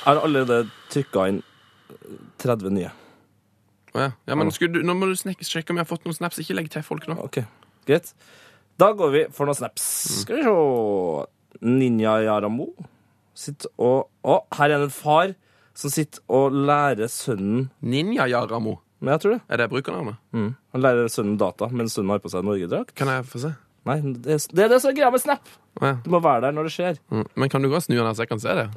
Speaker 3: har allerede trykka inn eh, 30 nye.
Speaker 1: Å Ja, ja, men skulle du, Nå må du snekke, sjekke om jeg har fått noen snaps. Ikke legg til folk nå.
Speaker 3: OK, greit. Da går vi for noen snaps. Skal vi se Ninja Yaramo sitter og Å, her er det en far som sitter og lærer sønnen
Speaker 1: Ninja Yaramo.
Speaker 3: Men jeg tror det.
Speaker 1: Er det brukernavnet?
Speaker 3: Mm. Han lærer sønnen data, men sønnen har på seg Norgedrakt.
Speaker 1: Kan jeg få se?
Speaker 3: Nei, det er det, er det som er greia med Snap!
Speaker 1: Å Ja.
Speaker 3: Du må være der når det skjer.
Speaker 1: Mm. Men kan du godt snu den her, så jeg kan se det?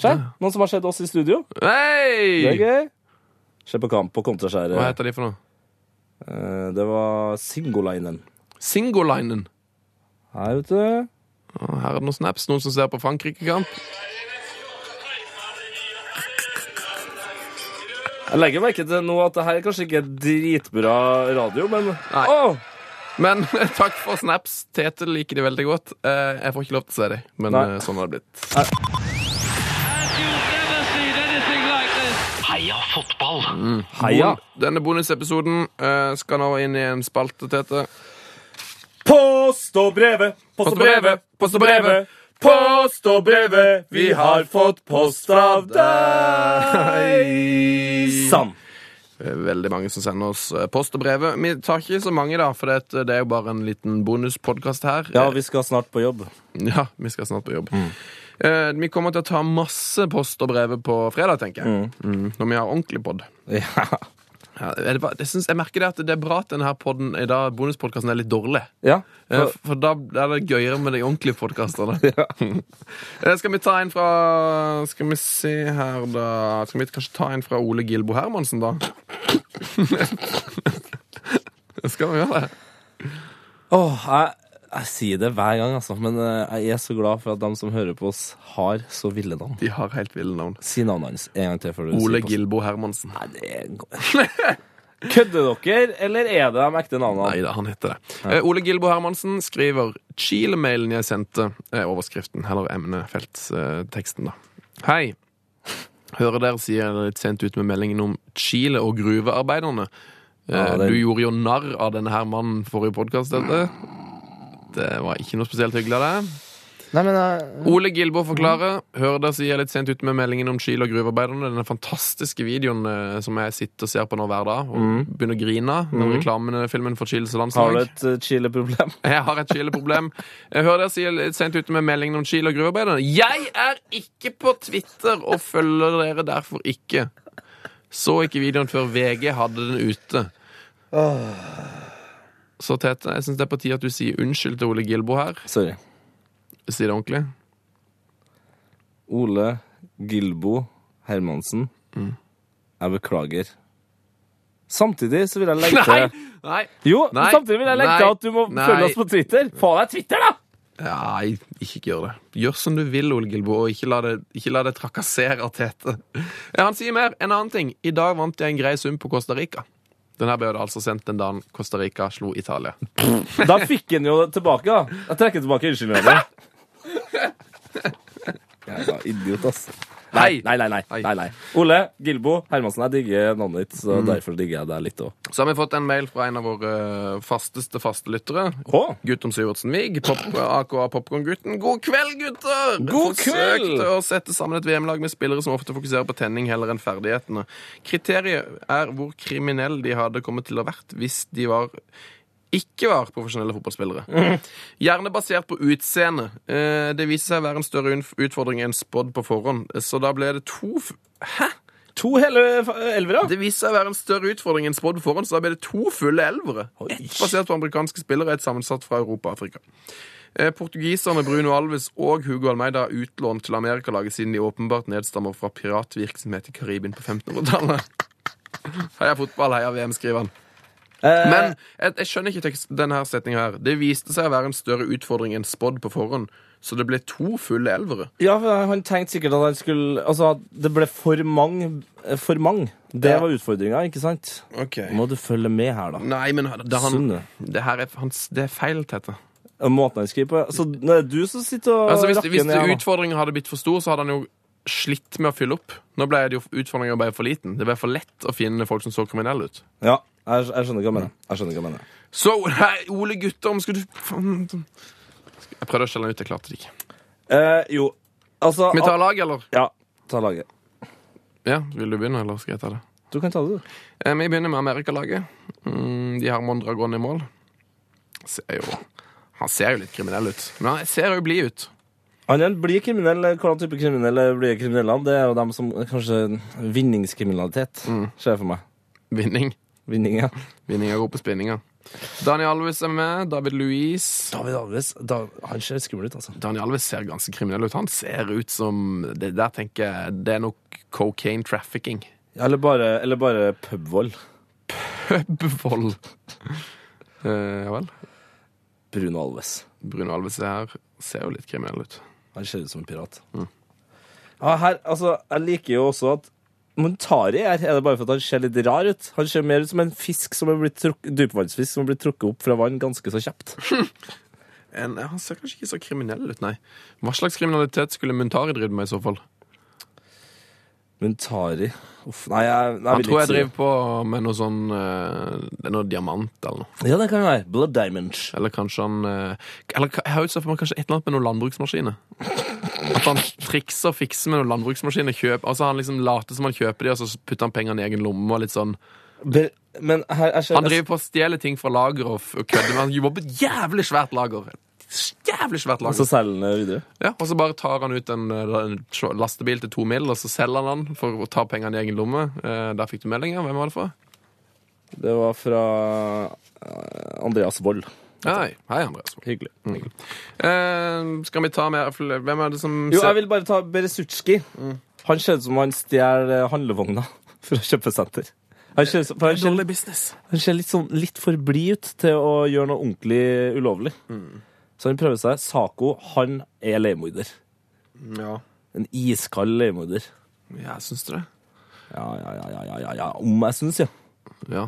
Speaker 3: Skjer? Noen som har sett oss i studio? Det er
Speaker 1: Hei!
Speaker 3: gøy. Se på kamp på kontraskjæret.
Speaker 1: Hva heter de for noe?
Speaker 3: Eh, Det var Singolinen.
Speaker 1: Singolinen.
Speaker 3: Her, vet du.
Speaker 1: Og Her er det noen snaps, noen som ser på Frankrike-kamp.
Speaker 3: Jeg legger merke til nå at det her kanskje ikke er dritbra radio, men
Speaker 1: Nei.
Speaker 3: Åh!
Speaker 1: Men *laughs* takk for snaps. Tete liker de veldig godt. Eh, Jeg får ikke lov til å se dem, men
Speaker 3: Nei.
Speaker 1: eh, sånn har det blitt.
Speaker 4: And you've never seen anything like this.
Speaker 5: Heia fotball!
Speaker 3: Heia
Speaker 1: Denne bonusepisoden eh, skal nå inn i en spalte, Tete.
Speaker 3: Post og brevet, post og brevet, post og brevet. Post og brevet, vi har fått post av deg. Sann.
Speaker 1: Det er Veldig mange som sender oss eh, post og brevet. Vi tar ikke så mange, da, for det det er jo bare en liten bonuspodkast her. Eh,
Speaker 3: Ja, vi skal snart på jobb.
Speaker 1: Ja, vi skal snart på jobb. Eh, Vi kommer til å ta masse post og brevet på fredag, tenker jeg. Mm, Når vi har ordentlig pod.
Speaker 3: Ja,
Speaker 1: Ja, det, var- det syns- jeg merker det at det er bra at denne her podden, i dag, bonuspodkasten er litt dårlig.
Speaker 3: ja.
Speaker 1: Eh, For, da er det gøyere med de ordentlige
Speaker 3: *laughs*
Speaker 1: podkastene. *laughs* Eh, Skal vi ta en fra Skal vi se her, da Skal vi kanskje ta en fra Ole Gilbo Hermansen,
Speaker 3: *laughs*
Speaker 1: da? *laughs* skal vi gjøre det?
Speaker 3: Åh, jeg, Jeg sier det hver gang, altså, men eh, jeg er så glad for at de som hører på oss, har så ville navn.
Speaker 1: De har helt ville navn.
Speaker 3: Si navnet hans en gang til. Før du
Speaker 1: Ole
Speaker 3: sier på-
Speaker 1: Gilbo Hermansen.
Speaker 3: Nei, det er *laughs*
Speaker 2: Kødder dere, eller er det de ekte navnene?
Speaker 1: Nei da, han heter det. Eh, Ole Gilbo Hermansen skriver Chile-mailen jeg sendte eh, Overskriften, eller emnefeltteksten, da. Hei. Hører dere sier det er litt sent ut med meldingen om Chile og gruvearbeiderne. Eh,
Speaker 3: Ja, det-
Speaker 1: Du gjorde jo narr av denne her mannen forrige podkast, dette. Det var ikke noe spesielt hyggelig av deg.
Speaker 3: Nei, men eh, jeg
Speaker 1: Ole Gilbo forklarer. Hører dere sier litt sent ut med meldingen om Chile og gruvearbeiderne. Denne fantastiske videoen eh, som jeg sitter og ser på nå hver dag, og begynner å grine av. Den eh, reklamefilmen for Chiles landslag.
Speaker 2: Har du et eh, Chile-problem?
Speaker 1: *laughs* Jeg har et Chile-problem. Jeg hører dere si litt sent ute med meldingen om Chile og gruvearbeiderne. Jeg er ikke på Twitter og følger dere derfor ikke. Så ikke videoen før VG hadde den ute. Så Tete, jeg syns det er på tide at du sier unnskyld til Ole Gilbo her.
Speaker 3: Sorry.
Speaker 1: Si det ordentlig.
Speaker 3: Ole Gilbo Hermansen.
Speaker 1: Mm.
Speaker 3: Jeg beklager. Samtidig så vil
Speaker 1: *laughs*
Speaker 3: jeg legge til
Speaker 1: Nei! Nei!
Speaker 3: Jo,
Speaker 1: Nei.
Speaker 3: samtidig vil jeg legge til
Speaker 1: Nei.
Speaker 3: at du må
Speaker 1: Nei.
Speaker 3: følge oss på Twitter. Få deg Twitter, da!
Speaker 1: Nei, ikke gjør det. Gjør som du vil, Ole Gilbo, og ikke la det, ikke la det trakassere Tete. Ja, Han sier mer. En annen ting. I dag vant jeg en grei sum på Costa Rica. Den her ble det altså sendt den dagen Costa Rica slo Italia.
Speaker 2: Da fikk han jo det tilbake, da. Jeg trekker tilbake
Speaker 1: *laughs*
Speaker 2: unnskyldningen.
Speaker 3: Jævla idiot, ass.
Speaker 1: Nei.
Speaker 3: Nei, nei, nei.
Speaker 1: Nei.
Speaker 3: nei, nei. Ole Gilbo Hermansen, jeg digger navnet ditt,
Speaker 1: Mm.
Speaker 3: så derfor digger jeg deg litt òg.
Speaker 1: Så har vi fått en mail fra en av våre eh, fasteste fastelyttere.
Speaker 3: Å.
Speaker 1: Guttom Sivertsen-Vig, pop, aka Popkorngutten. God kveld, gutter!
Speaker 3: God kveld!
Speaker 1: Forsøkte å sette sammen et VM-lag med spillere som ofte fokuserer på tenning heller enn ferdighetene. Kriteriet er hvor kriminelle de hadde kommet til å vært hvis de var ikke var profesjonelle fotballspillere. Gjerne basert på utseende. Eh, Det viser seg å være en større unf- utfordring enn spådd på forhånd, så da ble det to f-
Speaker 3: To hele elvere?
Speaker 1: Det viste seg å være en større utfordring enn spådd foran, så da ble det to fulle elvere. Ett basert på amerikanske spillere, ett sammensatt fra Europa og Afrika. Eh, Portugiserne Bruno Alves og Hugo Almeida er utlånt til Amerikalaget siden de åpenbart nedstammer fra piratvirksomhet i Karibien på 1500-tallet. *laughs* Heia fotball, heia VM, skriver han. Men jeg, jeg skjønner ikke tekst, denne her setningen her. Det viste seg å være en større utfordring enn spådd på forhånd, så det ble to fulle elvere.
Speaker 2: Ja, for han tenkte sikkert at han skulle Altså, at det ble for mange. eh, For mange. Det
Speaker 1: Ja.
Speaker 2: var utfordringa, ikke sant? Nå Må du følge med her, da.
Speaker 1: Nei, men det, han,
Speaker 3: Sunne.
Speaker 1: det her er, han, det er feil, Tete.
Speaker 2: Og Måten han skriver på ja. Så nå er det du som sitter og
Speaker 1: Altså, hvis
Speaker 2: rakker
Speaker 1: hvis
Speaker 2: ned her, da.
Speaker 1: utfordringen hadde blitt for stor, så hadde han jo slitt med å fylle opp. Nå ble det jo utfordringen ble for liten. Det ble for lett å finne folk som så kriminelle ut.
Speaker 3: Ja, jeg, jeg skjønner hva jeg mener. Jeg skjønner hva jeg mener.
Speaker 1: Så, nei, Ole Guttorm, skulle du faen. Jeg prøvde å skjelle den ut, jeg klarte det ikke.
Speaker 3: Eh, jo, altså
Speaker 1: Skal vi ta lag, eller?
Speaker 3: Ja, ta laget.
Speaker 1: Ja, Vil du begynne, eller skal jeg ta det?
Speaker 3: Du kan ta det, du.
Speaker 1: Eh, Vi begynner med Amerikalaget. Mm, De har Mondragon i mål. Ser jo Han ser jo litt kriminell ut. Men han ser jo blid ut.
Speaker 3: Han er en blid kriminell. Hvordan type kriminelle blir kriminelle? Det er jo dem som kanskje Vinningskriminalitet, ser jeg for meg.
Speaker 1: Vinning.
Speaker 3: Vinning, ja.
Speaker 1: Vinninga går på spinninga. Daniel Alves er med. David Louise.
Speaker 3: David Alves, da, han ser skummel ut, altså.
Speaker 1: Daniel Alves ser ganske kriminell ut. Han ser ut som Det der tenker jeg Det er nok cocaine trafficking. *laughs*
Speaker 3: Eller bare, eller bare pubvold.
Speaker 1: Bøbbevold. Eh, ja vel.
Speaker 3: Bruno Alves.
Speaker 1: Bruno Alves er her ser jo litt kriminell ut.
Speaker 3: Han ser ut som en pirat.
Speaker 1: Mm.
Speaker 3: Ja, her, altså, jeg liker jo også at Montari er, er det bare for at han ser litt rar ut. Han ser mer ut som en fisk som er blitt trukk- dypvannsfisk som er blitt trukket opp fra vann ganske så kjapt.
Speaker 1: En, han ser kanskje ikke så kriminell ut, nei. Hva slags kriminalitet skulle Muntari drive med i så fall?
Speaker 3: Montari Uff, nei, jeg, nei, jeg
Speaker 1: Han
Speaker 3: vil
Speaker 1: tror
Speaker 3: ikke
Speaker 1: jeg
Speaker 3: si det.
Speaker 1: driver på med noe sånn eh, Det er noe diamant eller noe.
Speaker 3: Ja, det kan være. Blood Diamonds.
Speaker 1: Eller kanskje han eh, Eller ka- jeg har utsett for meg kanskje et eller annet med noen landbruksmaskiner. At han trikser og fikser med noen landbruksmaskiner. Kjøp, altså Han liksom later som han kjøper de, og så putter han pengene i egen lomme. og litt sånn
Speaker 3: Be- Men her, jeg ser,
Speaker 1: Han driver på å stjele ting fra lager og f- og kødder med Han jobber på et jævlig svært lager. Et Jævlig svært
Speaker 3: Og så
Speaker 1: lager.
Speaker 3: selger han det videre.
Speaker 1: Ja, og så bare tar han ut en, eh, en tr- lastebil til to mil, og så selger han den for å ta pengene i egen lomme. Eh, der fikk du meldinga. Hvem var det fra?
Speaker 3: Det var fra eh, Andreas Wold.
Speaker 1: Hei, hei Andreas.
Speaker 3: Hyggelig.
Speaker 1: Eh, skal vi ta mer fl- Hvem er det som
Speaker 3: Jo,
Speaker 1: ser-
Speaker 3: jeg vil bare ta Beresutski. Han ser ut som han stjeler eh, handlevogna *laughs* fra kjøpesenter. Han ser, for han ser
Speaker 1: Dårlig business.
Speaker 3: Han ser litt, sånn, litt for blid ut til å gjøre noe ordentlig ulovlig. Så han prøver seg. Saco, han er leiemorder.
Speaker 1: Ja.
Speaker 3: En iskald leiemorder.
Speaker 1: ja, syns du det?
Speaker 3: Ja, ja, ja, ja, ja, ja, ja. Om jeg syns, ja.
Speaker 1: Ja.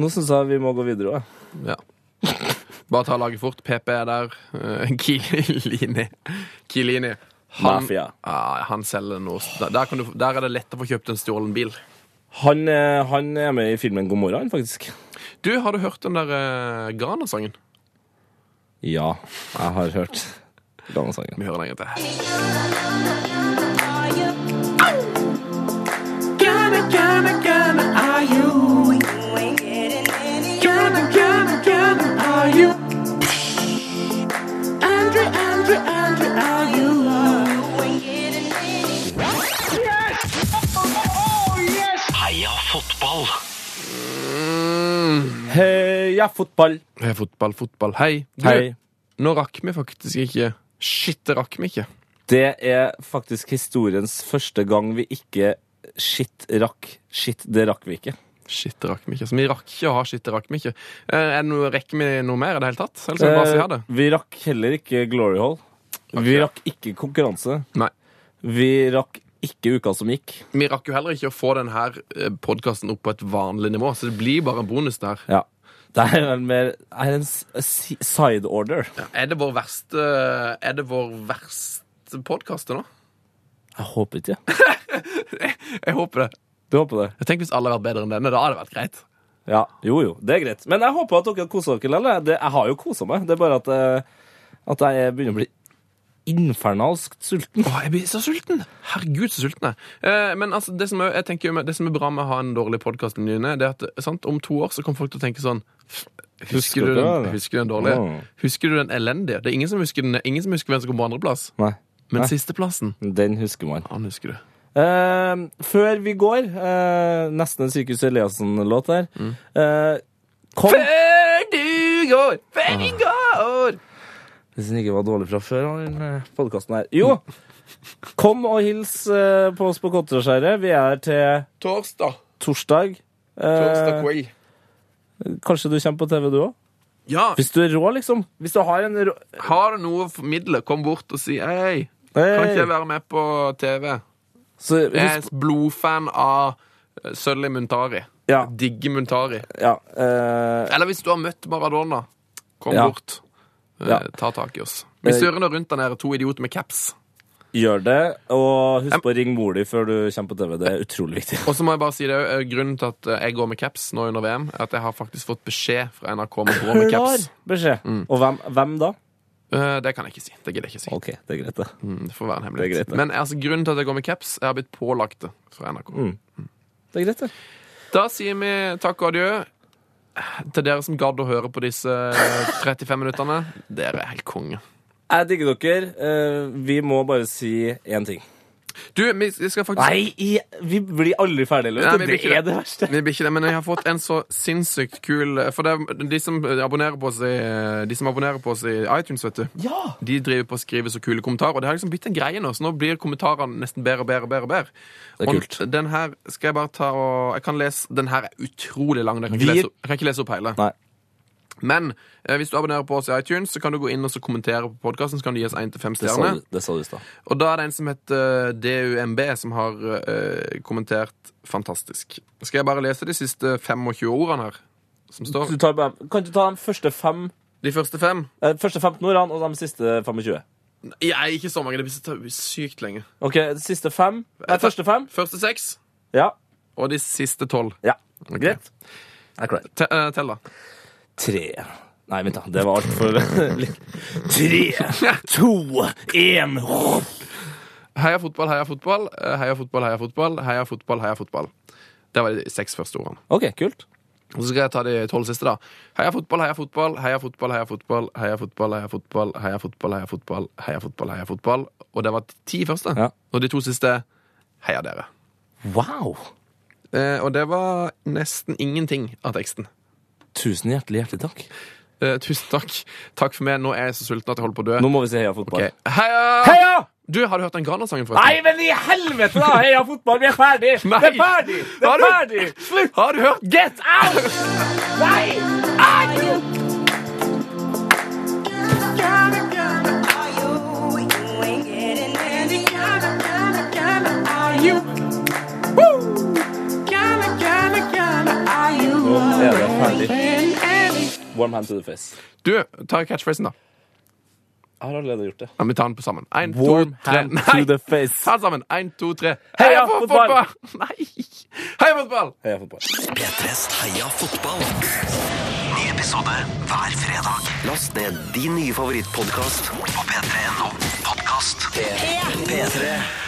Speaker 3: Nå syns jeg vi må gå videre òg.
Speaker 1: ja. Bare ta laget fort. PP er der. Eh, Kilini. Kilini. Han,
Speaker 3: Mafia.
Speaker 1: Ja, han selger noe der, der, kan du, der er det lett å få kjøpt en stjålen bil.
Speaker 3: Han, eh, han er med i filmen God morgen, han, faktisk.
Speaker 1: Du, har du hørt den der uh, Grana-sangen?
Speaker 3: Ja, jeg har hørt denne sangen.
Speaker 1: Vi hører den en gang til.
Speaker 5: Heia fotball!
Speaker 3: Heia fotball!
Speaker 1: Hei, fotball, fotball. Hei. Du,
Speaker 3: Hei.
Speaker 1: Nå rakk vi faktisk ikke Shit, det rakk vi ikke.
Speaker 3: Det er faktisk historiens første gang vi ikke Shit rakk. Shit, det rakk vi ikke.
Speaker 1: Shit, det rakk vi ikke. Så vi rakk ikke å ha shit, det rakk vi ikke. Eh, Er det noe, rekker vi noe mer i det hele tatt? Eller skal vi bare si ha det?
Speaker 3: Eh, vi rakk heller ikke Glory Hall. Vi rakk ikke konkurranse.
Speaker 1: Nei.
Speaker 3: Vi rakk ikke uka som gikk.
Speaker 1: Vi rakk jo heller ikke å få denne podkasten opp på et vanlig nivå, så det blir bare en bonus der.
Speaker 3: Ja. Det er vel mer er en s- si- side order.
Speaker 1: Er det vår verste eh, Er det vår verste podkast nå?
Speaker 3: Jeg håper ikke det.
Speaker 1: Jeg håper det.
Speaker 3: Du håper det?
Speaker 1: Jeg tenker Hvis alle hadde vært bedre enn denne, da hadde det vært greit.
Speaker 3: Ja. Jo, jo. Det er greit. Men jeg håper at dere koser dere likevel. Det- Jeg har jo kosa meg. Det er bare at, eh, at jeg begynner å bli infernalskt sulten.
Speaker 1: Å, jeg blir så sulten! Herregud, så sulten jeg er. Eh, men altså, det som er, jeg tenker jo med, det som er bra med å ha en dårlig podkast, er at sant, om to år så kommer folk til å tenke sånn "F-
Speaker 3: Husker
Speaker 1: Husker du
Speaker 3: dere
Speaker 1: den,
Speaker 3: det?
Speaker 1: husker du den dårlige?
Speaker 3: Åh.
Speaker 1: Husker du den elendige? Det er ingen som husker, den, ingen som husker hvem som kom på andreplass.
Speaker 3: Nei.
Speaker 1: Men sisteplassen,
Speaker 3: Den husker man.
Speaker 1: han husker du.
Speaker 3: Eh, før vi går, eh, nesten en Sirkus Eliassen-låt her. Eh, kom
Speaker 1: Før du går, før vi går!
Speaker 3: Hvis den ikke var dårlig fra før, var den podkasten her. Jo! Mm. Kom og hils eh, på oss på Kotteskjæret. Vi er til
Speaker 1: Torsdag.
Speaker 3: torsdag. Eh, kanskje du kommer på TV, du òg?
Speaker 1: Ja,
Speaker 3: Hvis du er rå, liksom. Hvis du har en rå
Speaker 1: har du noe for midler, kom bort og si hei. Kan ikke jeg være med på TV?
Speaker 3: Så
Speaker 1: Jeg
Speaker 3: husk
Speaker 1: er blodfan av eh, Sølvi Muntari.
Speaker 3: Ja.
Speaker 1: Digger Muntari.
Speaker 3: ja eh,
Speaker 1: Eller hvis du har møtt Maradona, kom
Speaker 3: Ja.
Speaker 1: bort. Eh,
Speaker 3: Ja.
Speaker 1: Ta tak i oss. Vi
Speaker 3: Eh,
Speaker 1: surrer nå rundt der nede, to idioter med caps.
Speaker 3: gjør det. Og husk på å ringe mor di før du kommer på TV. Det er utrolig viktig.
Speaker 1: Og så må jeg bare si det, eh, grunnen til at eh, jeg går med caps nå under VM, er at jeg har faktisk fått beskjed fra NRK om å gå
Speaker 3: *laughs*
Speaker 1: med caps. Mm.
Speaker 3: Klar beskjed. Og hvem, hvem da?
Speaker 1: Eh, Det kan jeg ikke si. Det gidder jeg ikke si.
Speaker 3: OK, det er greit, det.
Speaker 1: Mm, Det får være en hemmelighet.
Speaker 3: Det er greit, det.
Speaker 1: Men altså, grunnen til at jeg går med caps, jeg har blitt pålagt det fra NRK.
Speaker 3: Mm. Det er greit, det.
Speaker 1: Da sier vi takk og adjø til dere som gadd å høre på disse 35 minuttene. Dere er helt konge.
Speaker 3: Jeg digger dere. Eh, vi må bare si én ting.
Speaker 1: Du, vi vi skal faktisk
Speaker 3: Nei, i, vi blir aldri ferdige.
Speaker 1: Nei,
Speaker 3: Løte.
Speaker 1: vi blir
Speaker 3: det
Speaker 1: ikke
Speaker 3: er det verste.
Speaker 1: Vi blir ikke det, men jeg har fått en så sinnssykt kul For det, er- de, som abonnerer på oss i, de som abonnerer på oss i iTunes, vet du
Speaker 3: Ja!
Speaker 1: De driver på å skrive så kule kommentarer, og det har liksom blitt en greie nå. Så nå blir kommentarene nesten bedre og bedre. og bedre, og bedre.
Speaker 3: Det er kult.
Speaker 1: Og den her skal jeg bare ta og Jeg kan lese Den her er utrolig lang. Jeg kan ikke,
Speaker 3: Vi-
Speaker 1: lese, jeg kan ikke lese opp hele.
Speaker 3: Nei.
Speaker 1: Men eh, hvis du abonnerer på oss i iTunes, så kan du gå inn og så kommentere på podkasten. Så kan du gi oss én til fem
Speaker 3: Det sa
Speaker 1: stjerner.
Speaker 3: du- det sa du i stad.
Speaker 1: Og da er det en som heter eh, DUMB, som har eh, kommentert fantastisk. Skal jeg bare lese de siste 25 ordene her? Som står.
Speaker 3: Du tar bare- Kan du ta de første fem
Speaker 1: De første fem?
Speaker 3: eh, første 15 ordene og de siste 25?
Speaker 1: Nei, ikke så mange. Det blir så- det blir sykt lenge.
Speaker 3: OK, de siste fem? Nei, første fem?
Speaker 1: Første seks,
Speaker 3: Ja.
Speaker 1: og de siste tolv.
Speaker 3: ja.
Speaker 1: Ok.
Speaker 3: Greit. Jeg er klar.
Speaker 1: Te- eh, Tell, da.
Speaker 3: Tre Nei, vent, da. Det var altfor *laughs* Tre, to, én
Speaker 1: Heia fotball, heia fotball. eh, Heia fotball, heia fotball. Heia fotball, heia fotball. Det var de seks første ordene.
Speaker 3: OK, kult.
Speaker 1: Og så skal jeg ta de tolv siste, da. Heia fotball, heia fotball, heia fotball, heia fotball, heia fotball, heia fotball, heia fotball, heia fotball, heia fotball, heia fotball. Og det var de ti første.
Speaker 3: Ja.
Speaker 1: Og de to siste heia dere.
Speaker 3: Wow!
Speaker 1: Eh, og det var nesten ingenting av teksten.
Speaker 3: Tusen hjertelig, hjertelig takk.
Speaker 1: Eh, tusen takk. Takk for meg. Nå er jeg så sulten at jeg holder på å dø.
Speaker 3: Nå må vi si heia fotball.
Speaker 1: Ok. Heia!
Speaker 3: Heia!
Speaker 1: Du, har du hørt den Grana-sangen,
Speaker 3: Nei,
Speaker 1: forresten?
Speaker 3: men i helvete, da! Heia fotball, vi er ferdig!
Speaker 1: Nei.
Speaker 3: Det er ferdig! Det
Speaker 1: Har
Speaker 3: er
Speaker 1: du-
Speaker 3: ferdig! Slutt!
Speaker 1: Har du hørt?
Speaker 3: Get out! Nei! Au!
Speaker 2: Warm hand to the face.
Speaker 1: Du, ta catchphrasen, da.
Speaker 2: Jeg har allerede gjort det.
Speaker 1: Ja, vi tar den på sammen. Én, to,
Speaker 3: Warm
Speaker 1: tre.
Speaker 3: hand
Speaker 1: Nei!
Speaker 3: to the face.
Speaker 1: Ta den sammen. Én, to, tre.
Speaker 2: Heia
Speaker 1: Heia fotball! *laughs*
Speaker 2: fotball!
Speaker 1: Nei! Heia fotball!
Speaker 2: Heia fotball.
Speaker 5: P3s Heia fotball. Ny episode hver fredag. Last ned din nye favorittpodkast på p3.no podkast. P3.